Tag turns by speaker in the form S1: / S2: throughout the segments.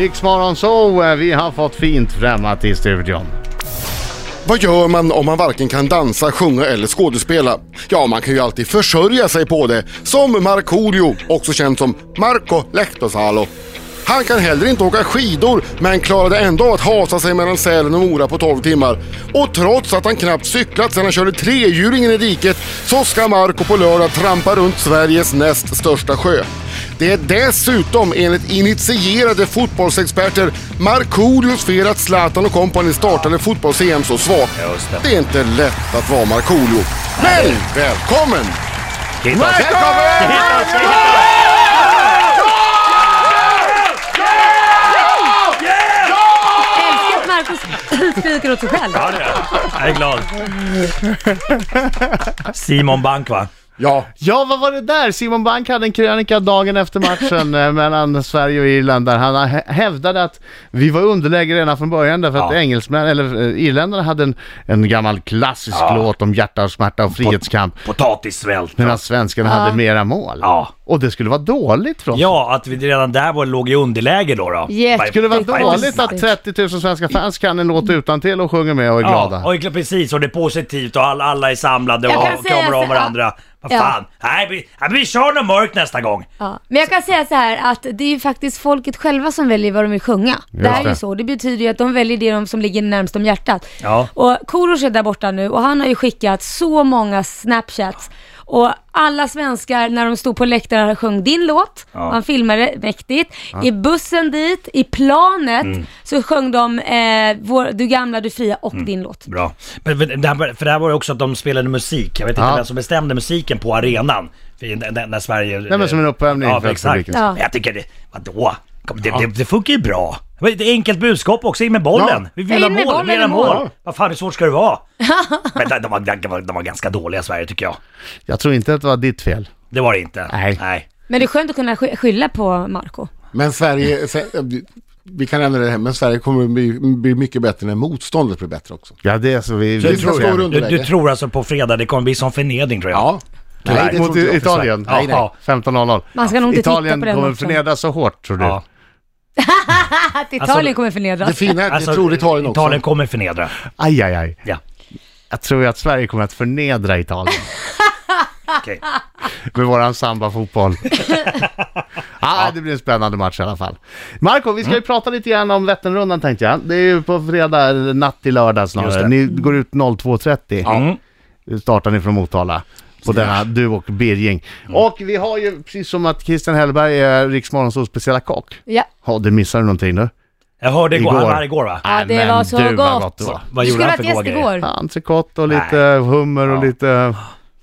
S1: Riksmorgon så eh, vi har fått fint främmat i studion.
S2: Vad gör man om man varken kan dansa, sjunga eller skådespela? Ja, man kan ju alltid försörja sig på det. Som Markoolio, också känd som Marco Lehtosalo. Han kan heller inte åka skidor, men klarade ändå att hasa sig mellan Sälen och Mora på 12 timmar. Och trots att han knappt cyklat sedan han körde trehjulingen i diket, så ska Marco på lördag trampa runt Sveriges näst största sjö. Det är dessutom enligt initierade fotbollsexperter Markoolios fel att Zlatan och kompani startade fotbolls-EM så svagt. Det är inte lätt att vara Markoolio. Men välkommen!
S3: Älskar att Marcus skriker åt sig själv.
S4: Ja, det är jag. Jag är glad. Simon Bank va?
S2: Ja,
S1: Ja, vad var det där? Simon Bank hade en krönika dagen efter matchen eh, mellan Sverige och Irland där han hä- hävdade att vi var underläge redan från början därför att
S4: Ja.
S1: engelsmän, eller eh, irländarna hade en, en gammal klassisk låt om hjärta och smärta och frihetskamp.
S4: Potatissvält.
S1: Medan svenskarna hade mera mål.
S4: Ja.
S1: Och det skulle vara dåligt från
S4: Ja, att vi redan där var, låg i underläge då. då.
S3: Jätte-
S1: Det skulle vara
S3: Faktiskt.
S1: dåligt att 30 000 svenska fans kan en låt utan till och sjunger med och är glada.
S4: Ja, och det- precis. Och det är positivt och alla, alla är samlade
S3: Jag kan
S4: och
S3: säga
S4: kramar
S3: så-
S4: om varandra. Vad
S3: Ja.
S4: fan. Nej, vi, nej, vi kör nog mörkt nästa gång.
S3: Ja. Men jag kan säga så här att det är ju faktiskt folket själva som väljer vad de vill sjunga. det här är
S1: det.
S3: ju så. Det betyder ju att de väljer det de som ligger närmst om hjärtat.
S4: Ja.
S3: Och Korosh är där borta nu och han har ju skickat så många snapchats. Och alla svenskar när de stod på läktaren sjöng din låt,
S4: Ja.
S3: han filmade mäktigt. I bussen dit, i planet,
S4: Mm.
S3: så sjöng de eh, vår, Du gamla, du fria och din låt.
S4: Bra. Men, men, det här- för det här var ju också att de spelade musik. Jag vet inte
S1: Ja.
S4: vem som bestämde musiken på arenan. För När, när- när Sverige...
S1: Nej, men som en uppvärmning
S4: Ja,
S1: för
S4: exakt.
S1: publiken.
S3: Ja.
S4: Men jag tycker det... Vadå? Kom, det, det, det funkar ju bra. Men Det är ett enkelt budskap också. In med bollen.
S2: Ja.
S4: Vi vill ha
S3: In med
S4: mål.
S3: bollen
S4: Vi vill ha
S3: i mål.
S4: mål. Vad fan, hur svårt ska det vara? men de, de, var, de, var, de var ganska dåliga Sverige tycker jag.
S1: Jag tror inte att det var ditt fel.
S4: Det var det inte.
S1: Nej.
S4: Nej.
S3: Men det är skönt att kunna sk- skylla på Marco
S4: Alltså,
S2: men Sverige... se- Vi kan ändra det här, men Sverige kommer bli, bli mycket bättre när motståndet blir bättre också.
S1: Ja, det är så vi...
S2: Så
S1: vi
S2: det ska stå runt-
S4: Du, du
S2: Underläge.
S4: tror alltså på fredag det kommer bli som förnedring tror jag?
S2: Ja.
S4: Tyvärr.
S2: Nej, det
S1: Mot
S2: trodde jag också.
S1: Italien.
S4: Nej, nej.
S1: Ja, 15-0.
S3: Man ska nog inte titta
S1: Italien
S3: på den
S1: kommer
S3: matchen.
S1: förnedras så hårt, tror du?
S4: Ja.
S3: Att Italien
S4: Alltså,
S3: kommer förnedras.
S2: Det fina är att jag tror Italien också.
S4: Italien Alltså, kommer förnedra.
S1: Aj, aj, aj.
S4: Ja,
S1: Jag tror ju att Sverige kommer att förnedra Italien
S4: okej.
S1: med våran samba-fotboll. ah, det blir en spännande match i alla fall. Marco, vi ska
S3: Mm.
S1: ju prata lite grann om Vätternrundan tänkte jag. Det är ju på fredag, eller natt till lördag
S4: Just
S1: snarare.
S4: det.
S1: Ni går ut 02.30.
S4: Mm.
S1: startar ni från Motala. På denna, du och Birging.
S4: Mm.
S1: Och vi har ju, precis som att Christian Hellberg är Riksmorgonsols speciella kock.
S3: Ja.
S1: Ja, du missade någonting nu.
S4: Jag hörde igår,
S1: Igår.
S4: han var här igår va?
S3: Ja,
S1: Nej,
S3: det
S1: men
S3: var så
S1: du, vad
S3: gott.
S1: gott det var.
S4: Ah, Vad
S3: du
S4: gjorde
S3: skulle
S4: han
S3: ha
S4: för
S3: varit
S4: goda
S3: gäst
S4: grejer?
S3: igår.
S1: Entrecote och lite hummer och lite eh,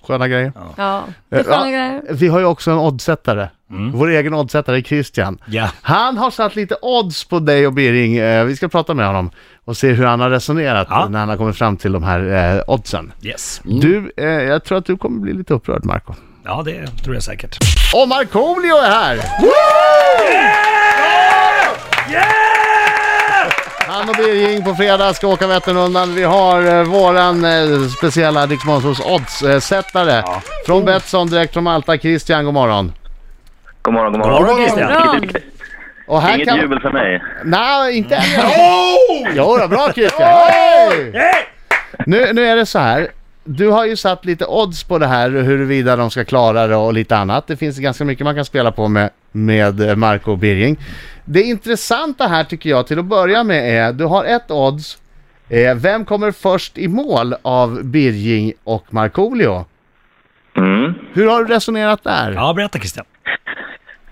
S1: sköna grejer.
S3: Ja. Det är
S1: Eh,
S3: sköna
S1: ja,
S3: grejer.
S1: vi har ju också en oddsättare. Vår egen oddsättare Christian.
S4: Ja.
S1: Han har satt lite odds på dig och Birging. Eh, Vi ska prata med honom och se hur han har resonerat
S4: Ja.
S1: när han har kommit fram till de här eh, oddsen.
S4: Yes.
S3: Mm.
S1: Du, eh, jag tror att du kommer bli lite upprörd Marco.
S4: Ja, det tror jag säkert.
S1: Och Markoolio är här! Han och Birging på fredag ska åka Vätternrundan. Vi har eh, våran eh, speciella Dix Monsters oddssättare
S4: Ja.
S1: från Betsson direkt från Malta. Christian, god morgon.
S5: God morgon, god
S4: God
S5: morgon.
S4: morgon Christian!
S3: Bra.
S1: Och här
S5: Inget jubel för mig.
S1: Nej, inte än. Jo, då, bra Christian! Hey! Nu, nu är det så här. Du har ju satt lite odds på det här huruvida de ska klara det och lite annat. Det finns ganska mycket man kan spela på med, med eh, Marco och Birging. Det intressanta här tycker jag till att börja med är, du har ett odds. Eh, vem kommer först i mål av Birging och Markoolio?
S5: Mm.
S1: Hur har du resonerat där?
S4: Ja, berätta Christian.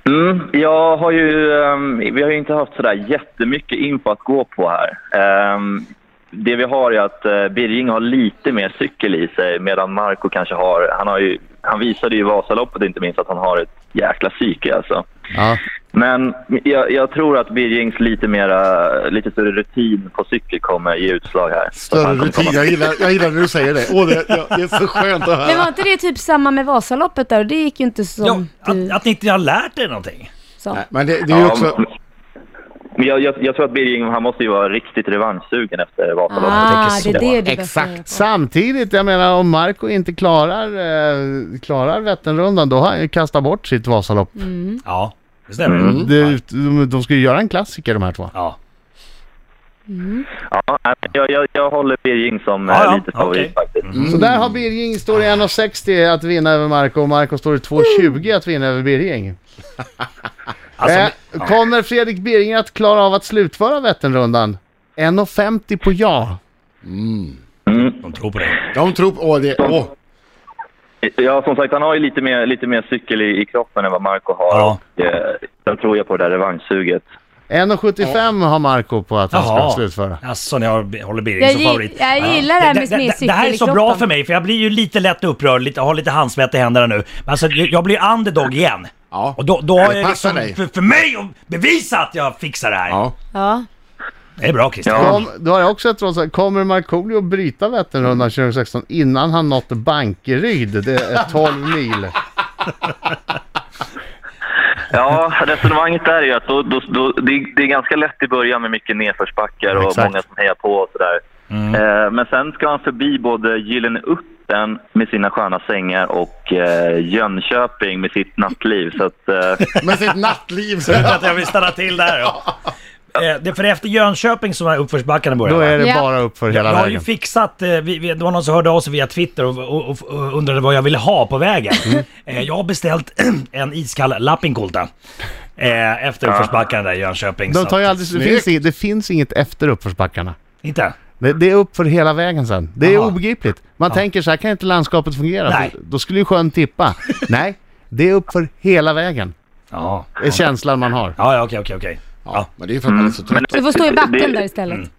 S5: Mm. Jag har ju, ehm, vi har ju inte haft sådär jättemycket info att gå på här. Ehm, det vi har är att uh, Birging har lite mer cykel i sig medan Marco kanske har, han, har ju, han visade ju i Vasaloppet inte minst att han har ett jäkla psyke alltså.
S1: Ja.
S5: Men jag, jag tror att Birgings lite, mera, lite större rutin på cykel kommer ge utslag här. Att
S2: Större
S5: han kommer
S2: rutin.
S5: komma-
S2: Jag gillar, jag gillar när du säger det. Åh, det, ja, det är så skönt att
S3: Men var
S2: höra.
S3: inte det typ samma med Vasaloppet där? Och Det gick ju inte
S4: Ja,
S3: som
S4: att,
S3: du
S4: att ni inte har lärt er någonting.
S3: sa.
S2: Nej, Men det, det är ju också...
S5: men- men jag, jag, jag tror att Birging, han måste ju vara riktigt revanschsugen efter Vasaloppet.
S3: Ah, det är det du
S1: Exakt. Samtidigt, jag menar om Marco inte
S3: Mm.
S1: klarar, eh, klarar Vätternrundan då har han ju kastat bort sitt Vasalopp.
S4: Ja. Det stämmer.
S1: Det, är ut- de- de ska ju göra en klassiker de här två.
S4: Ja.
S5: Ja, nej, men jag, jag, jag håller Birging som eh,
S4: Ja, ja,
S5: lite favorit
S4: okej. Mhm.
S5: faktiskt.
S1: Så där har Birging står i 1,60 att vinna över Marco och Marco står i 2,20 att vinna över Birging.
S4: Alltså,
S1: eh, Kommer Fredrik Birging att klara av att slutföra Vätternrundan? 1,50 på ja.
S4: de tror på det.
S2: De tror på... Åh, det... Åh.
S5: Mm. Ja, som sagt, han har ju lite mer, lite mer cykel i, i kroppen än vad Marco har.
S4: Ja.
S5: Och, eh, sen tror jag på det där revanschsuget.
S1: 1,75 har Marco på att han ska slutföra.
S4: Alltså, när jag håller Birging
S3: Jag
S4: som
S3: gi-
S4: favorit.
S3: jag
S4: Ja.
S3: gillar det här med
S4: det, det, det här är så
S3: cykelkroppen.
S4: bra för mig, för jag blir ju lite lätt upprörd, lite, har lite handsvett i händerna nu. Men alltså, jag jag blir underdog igen.
S2: Ja.
S4: Och då, då har
S2: Det
S4: jag
S2: passar
S4: liksom
S2: dig.
S4: för, för mig att bevisa att jag fixar det här.
S2: Ja.
S3: Ja.
S4: Det är bra Christian.
S5: Ja.
S1: Kom, då har jag också ett råd. så här, Kommer Markoolio bryta Vätternrundan 2016 innan han nått Bankeryd? Det är 12 mil.
S5: Ja, resonemanget där är ju att då, då, då, det, är- det är ganska lätt i början med mycket nedförsbackar och
S1: Exakt.
S5: många som hejar på och sådär.
S4: Mm.
S5: Eh, men sen ska han förbi både Gyllene Uppen med sina sköna sängar och eh, Jönköping med sitt nattliv. Så att, eh,
S2: Med sitt nattliv.
S4: Så jag tror att jag vill stanna till där. Ja. Eh, Det är för efter Jönköping som är uppförsbackarna börjar.
S1: Då
S4: va?
S1: är det
S3: Ja.
S1: bara uppför hela
S4: jag har ju
S1: vägen.
S4: fixat, eh, vi, vi, det var någon som hörde av sig via Twitter och, och, och, och undrade vad jag ville ha på vägen.
S1: Mm.
S4: Eh, jag har beställt en iskall Lappinkulta. Eh, efter uppförsbackarna där i Jönköping.
S1: De
S4: så
S1: tar ju
S4: att-
S1: aldrig, det,
S2: Snyggt.
S1: finns inget, det finns inget efter uppförsbackarna.
S4: Inte?
S1: Det, det är uppför hela vägen sen. Det är
S4: Aha.
S1: obegripligt. Man tänker så här kan inte landskapet fungera.
S4: Nej.
S1: för Då skulle ju sjön tippa. Nej, det är uppför hela vägen.
S4: Ja.
S1: Det är känslan man har.
S4: Ja, ja, okej, okej, okej. Ja.
S2: Men det är ju för att man är så
S4: Mm.
S2: trött.
S3: Du får stå i
S5: Det-
S3: backen där istället.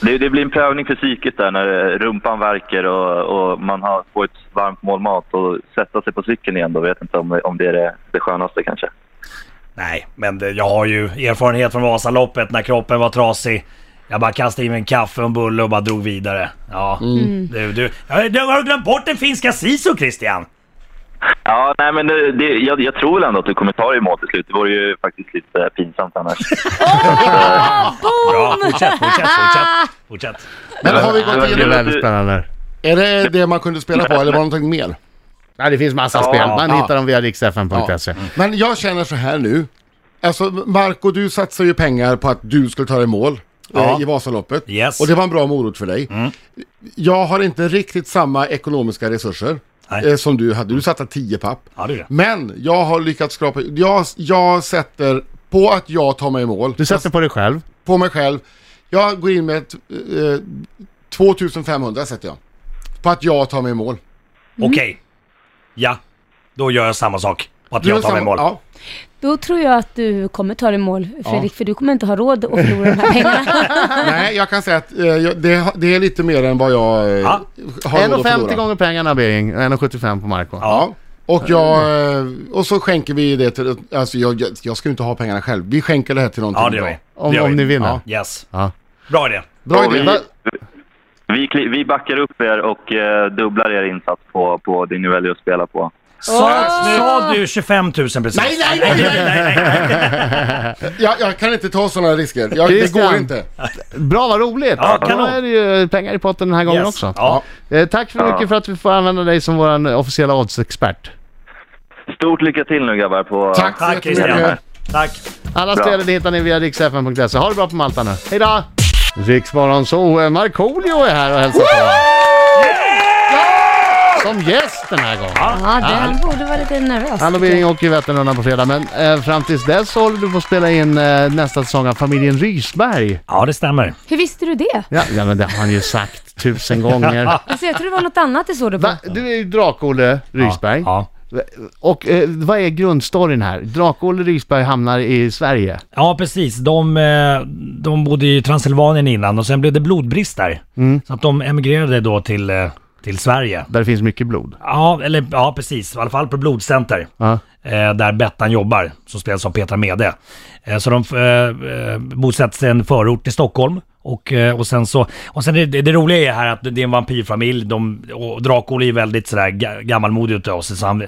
S5: det, det blir en prövning för psyket där när eh, rumpan värker och, och man har får ett varmt mål mat och sätta sig på cykeln igen. Då vet jag inte om, om det är det, det skönaste kanske.
S4: Nej, men det, jag har ju erfarenhet från Vasaloppet när kroppen var trasig. Jag bara kastade i mig en kaffe och en bulle och bara drog vidare. Ja, du, du. Ja, du har glömt bort den finska sisu Christian!
S5: Ja, nej, men det, det, jag, jag tror väl ändå att du kommer ta dig i mål till slut. Det vore ju faktiskt lite pinsamt annars.
S4: Bra, fortsätt, fortsätt, fortsätt. fortsätt.
S2: Men har vi gått
S5: Det
S1: Det är
S2: igenom...
S1: väldigt spännande.
S2: Är det det man kunde spela på eller var det någonting mer?
S1: Nej, det finns massa
S5: Ja,
S1: spel. Man
S2: ja.
S1: hittar dem via riksfn.se.
S4: Mm.
S2: Men jag känner så här nu. Alltså Marco, du satsar ju pengar på att du skulle ta dig i mål.
S4: Ja.
S2: eh, I Vasaloppet.
S4: Yes. Mm.
S2: Och det var en bra morot för dig. Jag har inte riktigt samma ekonomiska resurser
S4: Nej.
S2: eh, som du hade. Du satte 10 papp.
S4: Ja, det är det.
S2: Men jag har lyckats skrapa... Jag, jag sätter på att jag tar mig i mål.
S1: Du sätter på dig själv.
S2: På mig själv. Jag går in med ett, eh, 2500 sätter jag. På att jag tar mig i mål. Mm.
S4: Okej. Ja, då gör jag samma sak. Och att
S2: Du
S4: jag
S2: har
S4: tar mig i
S2: samma-
S4: mål.
S2: Ja.
S3: Då tror jag att du kommer ta dig i mål, Fredrik, för du kommer inte ha råd att förlora de här pengarna.
S2: Nej, jag kan säga att eh, jag- det, det är lite mer än vad jag eh,
S4: Ja.
S2: har råd att
S1: 1,50
S2: förlora.
S1: gånger pengarna Bering och 1,75 på Marco.
S2: Ja. Och, jag, eh, och så skänker vi det till... Alltså jag, jag- jag ska ju inte ha pengarna själv. Vi skänker det här till någonting
S4: Ja, det gör
S2: bra.
S4: vi.
S1: Om,
S4: Det gör
S1: om
S4: vi.
S1: ni vinner.
S2: Ja.
S4: Yes.
S1: Ja.
S4: Bra idé.
S2: Bra
S5: Och vi,
S2: idé.
S1: Va-
S5: vi, kli- vi backar upp er och eh, dubblar er insats på, på det ni väljer att spela på.
S4: Sa, sa du 25 000 precis?
S2: Nej, nej, nej, nej, Jag, jag kan inte ta sådana risker. Jag, det
S1: Christian.
S2: går inte.
S1: Bra, vad roligt!
S4: Ja,
S1: Då
S4: kanon.
S1: är det ju eh, pengar i potten den här gången också.
S4: Ja.
S1: Eh, tack för mycket
S5: Ja.
S1: för att vi får använda dig som vår officiella oddsexpert.
S5: Stort lycka till nu grabbar. På,
S2: Tack så
S4: Tack
S2: jättemycket.
S4: Christian. Tack.
S1: Alla
S5: Bra.
S1: spelen hittar ni via riksfn.se. Ha det bra på Malta nu. Hej då! Riksmorgon så eh, Markoolio är här och hälsar på. Som gäst den här gången.
S3: Ja, den borde vara lite nervös.
S1: Han och
S3: tycker
S1: Birging
S3: jag.
S1: åker ju Vätternrundan på fredag, men eh, fram tills dess så håller du på att spela in eh, nästa säsong av familjen Rysberg.
S4: Ja, det stämmer.
S3: Hur visste du det?
S1: Ja, ja men det har han ju sagt tusen gånger.
S3: Alltså, jag tror det var något annat du såg det på.
S1: Va? Du är ju Drak-Olle Rysberg.
S4: Ja.
S1: Och eh, vad är grundstoryn här? Drak-Olle Rysberg hamnar i Sverige.
S4: Ja, precis. De, eh, de bodde i Transylvanien innan och sen blev det blodbrist där.
S2: Mm.
S4: Så att de emigrerade då till, eh, till Sverige.
S1: Där det finns mycket blod.
S4: Ja, eller ja, precis. I alla fall på blodcenter.
S1: Ja.
S4: eh, där Bettan jobbar, som spelas av Petra Mede. Eh, så de eh, eh, bosätter sig i en förort till Stockholm. Och, eh, och sen så, och sen det, det det roliga är här att det är en vampyrfamilj. De, och Dracula är väldigt sådär ga- gammalmodig utav sig. Så han,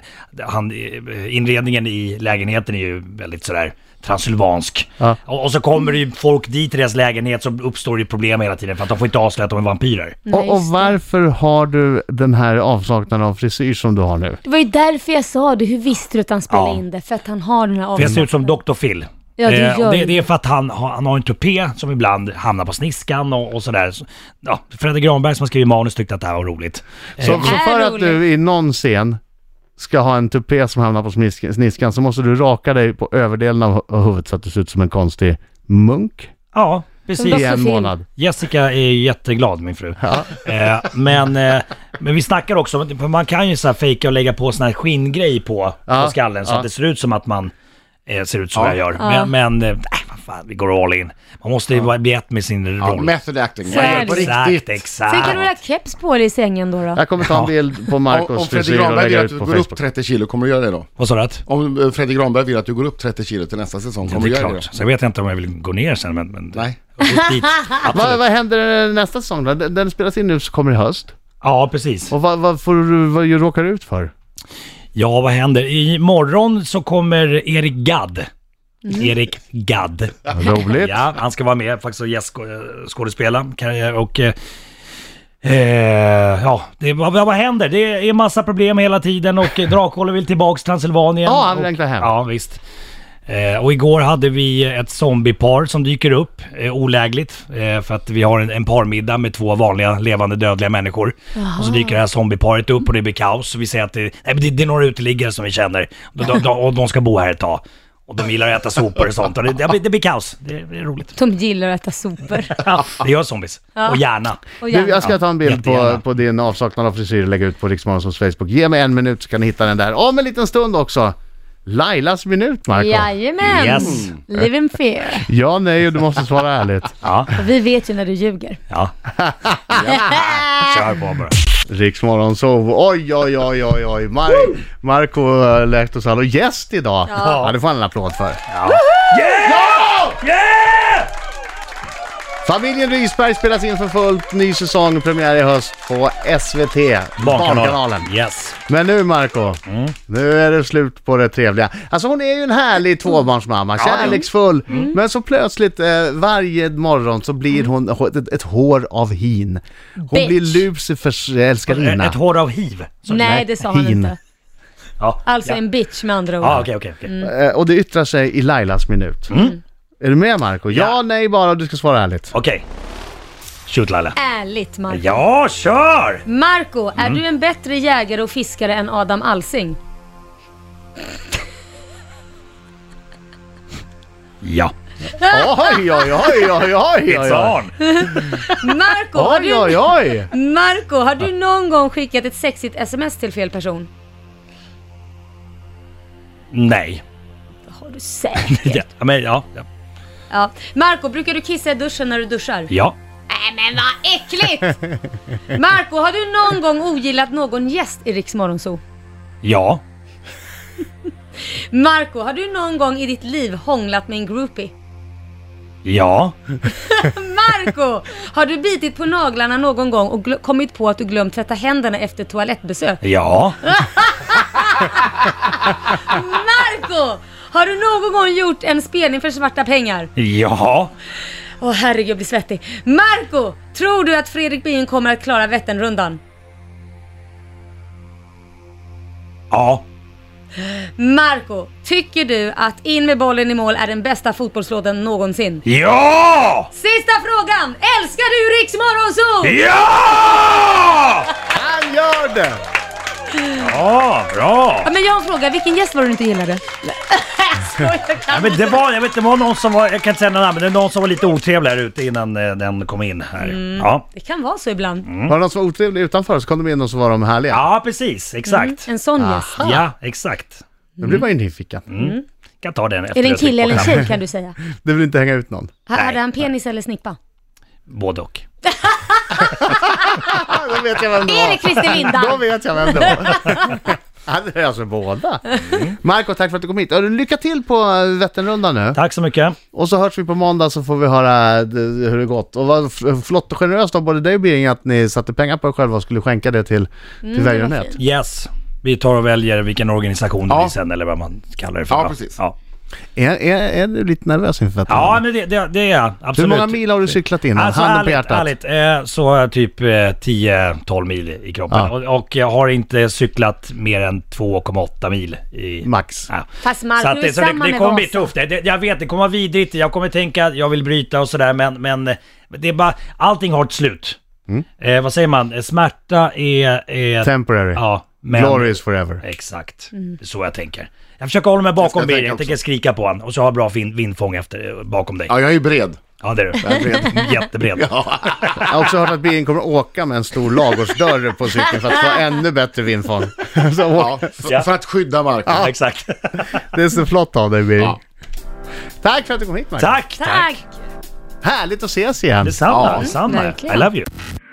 S4: han, eh, inredningen i lägenheten är ju väldigt sådär transylvansk.
S1: Ja.
S4: Och, och så kommer det ju folk dit till deras lägenhet så uppstår det ju problem hela tiden för att de får inte avslöja att de är vampyrer.
S3: Nej,
S1: Och, och
S3: just det.
S1: varför har du den här avsaknaden av frisyr som du har nu?
S3: Det var ju därför jag sa det. Hur visste du att han spelade
S4: Ja.
S3: in det? För att han har den här
S4: För jag ser
S3: avsaknaden.
S4: ut som Dr. Phil.
S3: Ja, det
S4: Eh, och
S3: gör
S4: det,
S3: du.
S4: det är för att han, har- han har en tupé som ibland hamnar på sniskan och, och sådär. Så- Ja, Fredrik Granberg som har skrivit manus tyckte att det här var roligt.
S1: Så,
S4: Eh,
S1: så
S3: är
S1: för att
S3: roligt.
S1: du i någon scen ska ha en tupé som hamnar på smisk- sniskan så måste du raka dig på överdelen av hu- av huvudet så att du ser ut som en konstig munk
S4: ja,
S3: Som
S4: precis.
S1: i
S3: Dr.
S1: en
S3: Phil.
S1: månad.
S4: Jessica är jätteglad min fru. Eh, men, eh, men vi snackar också, om- för man kan ju så här fejka och lägga på sån här skinngrej på,
S1: Ja,
S4: på skallen så
S1: ja.
S4: att det ser ut som att man eh, ser ut som jag gör.
S3: Ja.
S4: Men, men eh, nej, vad fan, vi går all in. Man måste ju vara- bli ett med sin
S2: Ja,
S4: roll.
S2: method acting.
S3: Så är det.
S2: på
S4: exakt,
S2: riktigt.
S3: Sen kan
S4: exakt.
S3: du väl ha keps på dig i sängen då? då?
S1: Jag kommer ta en bild på
S2: Om, om
S1: Marcos
S2: Fredrik
S1: frisyr och
S2: Granberg vill
S1: lägga
S2: att
S1: ut
S2: du
S1: på
S2: går upp
S1: Facebook.
S2: 30 kilo, kommer du göra det då?
S4: Vad sa du? att?
S2: Om eh, Fredrik Granberg vill att du går upp 30 kilo till nästa säsong,
S4: Ja,
S2: kommer
S4: det
S2: du
S4: är
S2: göra det
S4: klart.
S2: då?
S4: Sen vet jag inte om jag vill gå ner sen men... men
S2: Nej.
S4: Upp dit.
S1: Vad,
S4: Absolut.
S1: vad händer nästa säsong då? Den, den spelas in nu så kommer i höst.
S4: Ja, precis.
S1: Och vad, vad får du, vad du råkar ut för?
S4: Ja, vad händer? Imorgon så kommer Erik Gadd. Erik Gadd.
S1: Roligt.
S4: Mm. Ja, han ska vara med faktiskt och gästskådespela. Och... eh, Eh, ja, det, vad, vad händer? Det är massa problem hela tiden och eh, Drakolle vill tillbaks till Transylvanien.
S1: Ja, han vill
S4: Och-
S1: längta hem.
S4: Ja, visst. Eh, och igår hade vi ett zombiepar som dyker upp, eh, olägligt, eh, för att vi har en, en parmiddag med två vanliga levande dödliga människor. Och så dyker det här zombieparet upp och det blir kaos. Och vi säger att det, nej, men det, det är några uteliggare som vi känner de, de, de, och de ska bo här ett tag. Och de gillar att äta sopor och sånt. Och det, det, blir, det blir kaos. Det, det är roligt.
S3: De gillar att äta sopor.
S4: Ja, det gör zombies.
S3: Ja.
S4: Och gärna.
S3: Och
S1: Du, jag ska ta en bild på,
S4: jättegärna.
S1: på din avsaknad av frisyr och lägga ut på Riksmorgons Facebook. Ge mig en minut så kan ni hitta den där. Om en liten stund också. Lailas minut, Marco.
S3: Jajamän!
S4: Yes.
S3: Live in fear.
S1: Ja, nej, du måste svara ärligt.
S4: Ja,
S3: Och vi vet ju när du ljuger.
S4: ja. Kör på bara.
S1: Riksmorgon sov. Oj, oj, oj, oj, oj. Mar- Marco eh, Lehtosalo, gäst idag. Ja. det får han en applåd för. Familjen Rysberg spelas in för fullt. Ny säsong, premiär i höst på SVT, Barnkanalen.
S4: Yes.
S1: Men nu Marco, nu är det slut på det trevliga. Alltså hon är ju en
S3: Mm.
S1: härlig tvåbarnsmamma, kärleksfull. Men så plötsligt eh, varje morgon så blir hon h- ett, ett hår av hin. Hon
S3: Mm. Bitch.
S1: blir Lucifers älskarinna.
S4: Ett hår av hiv. Så-
S3: Nej, det sa han
S1: hin.
S3: inte.
S4: Ja.
S3: Alltså
S4: ja.
S3: en bitch med andra ord.
S4: Ja, okej, okej. okej.
S1: Eh, och det yttrar sig i Lailas minut.
S3: Mm.
S1: Är du med Marco? Mm. Ja,
S4: Ja.
S1: nej bara, du ska svara ärligt.
S4: Okej. Shoot Laila.
S3: Ärligt Marco.
S4: Ja, Mm. kör!
S3: Marco, är du en bättre jägare och fiskare än Adam Alsing?
S4: Ja.
S1: Oj, oj, oj, oj, oj, oj,
S4: It's
S1: oj.
S4: on!
S3: Marco, har
S1: Oj,
S3: du,
S1: oj, oj.
S3: Marco, har du någon gång skickat ett sexigt sms till fel person?
S4: Nej.
S3: Det har du säkert.
S4: Ja, men ja. Ja.
S3: ja. Marco, brukar du kissa i duschen när du duschar?
S4: ja.
S3: Nej men vad äckligt! Marco, har du någon gång ogillat någon gäst i Riks Morgonzoo?
S4: Ja.
S3: Marco, har du någon gång i ditt liv hånglat med en groupie?
S4: Ja.
S3: Marco, har du bitit på naglarna någon gång och glö- kommit på att du glömt tvätta händerna efter toalettbesök?
S4: Ja.
S3: Marco, har du någon gång gjort en spelning för svarta pengar?
S4: Ja.
S3: Åh herregud, jag blir svettig. Marco, tror du att Fredrik Bien kommer att klara Vätternrundan?
S4: Ja.
S3: Marco, tycker du att in med bollen i mål är den bästa fotbollslåten någonsin?
S4: Ja!
S3: Sista frågan! Älskar du Riks Morgonzoo?
S4: Ja!
S1: Han gör det!
S4: Ja, bra!
S3: Ja, men jag har en fråga, vilken gäst var det du inte gillade? Jag skojar, jag
S4: Ja,
S3: kan
S4: men
S3: inte.
S4: det var, jag vet, det var någon som var, jag kan inte säga någon namn, men det var någon som var lite otrevlig här ute innan eh, den kom in här. Ja.
S3: Det kan vara så ibland.
S4: Mm.
S1: Var det någon som var otrevlig utanför så kom de in och så var de härliga.
S4: ja, precis. Exakt.
S3: En sån gäst.
S4: Ja, exakt.
S1: Nu blir man ju nyfiken.
S4: kan ta den efter
S3: Är det en kille eller en
S4: jag
S3: tjej kan du säga?
S1: Du vill inte hänga ut någon.
S3: Ha- Hade han penis eller snippa?
S4: Både och.
S1: Ja, då vet jag vem det
S3: Är det
S1: var.
S3: Christer
S1: Då
S3: Lindahl?
S1: vet jag vem det var. Mm. Han är alltså båda. Marco, tack för att du kom hit. Och Lycka till på eh, Vätternrundan nu.
S4: Tack så mycket.
S1: Och så hörs vi på måndag så får vi höra eh, hur det gått. Och vad f- flott och generöst av både dig och Birging att ni satte pengar på er själva och skulle skänka Mm, det till, till Välgörenhet.
S4: Yes. Vi tar och väljer vilken organisation
S2: Ja.
S4: vi sen eller vad man kallar det för.
S2: Ja,
S4: va?
S2: precis.
S4: Ja.
S1: Är, är, är du lite nervös inför att
S4: Ja, men det, det, det är jag.
S1: Mm. Hur
S4: Absolut.
S1: många mil har du cyklat innan?
S4: Alltså,
S1: Handen på
S4: ärligt,
S1: hjärtat.
S4: ärligt, eh, så har jag typ eh, 10-12 mil i kroppen.
S1: Ja.
S4: Och, och jag har inte cyklat mer än 2,8 mil i...
S1: Max.
S4: Ja.
S3: Fast Marco
S4: så att,
S3: är
S4: det, så det,
S3: samma
S4: det
S3: med
S4: kommer bli
S3: Vasa.
S4: tufft. Det, det, jag vet, det kommer vara vidrigt. Jag kommer tänka att jag vill bryta och sådär men, men eh, det är bara, allting har ett slut.
S2: Mm.
S4: Eh, vad säger man? Eh, Smärta är... är
S1: Temporary.
S4: ja, men,
S1: Glory is forever.
S4: Exakt,
S3: Mm.
S4: det är så jag tänker. Jag försöker hålla mig
S2: ska
S4: bakom
S2: tänka
S4: Birger, jag
S2: också.
S4: tänker skrika på honom och så ha bra fin, vindfång efter, eh, bakom dig.
S2: Ja, jag är ju bred.
S4: Ja det är du. Jättebred.
S1: Jag har också hört att bilen kommer att åka med en stor ladugårdsdörr på cykeln för att få ännu bättre vindfång. Så,
S2: Ja, för,
S4: Ja.
S2: för att skydda marken.
S4: Ja, Exakt.
S1: Det är så flott av dig, Birger.
S2: Ja.
S1: Tack för att du kom hit, Marcus.
S4: tack, tack!
S3: Tack!
S1: Härligt att ses igen.
S4: Detsamma,
S2: Ja,
S4: detsamma. I
S3: verkligen.
S4: love you.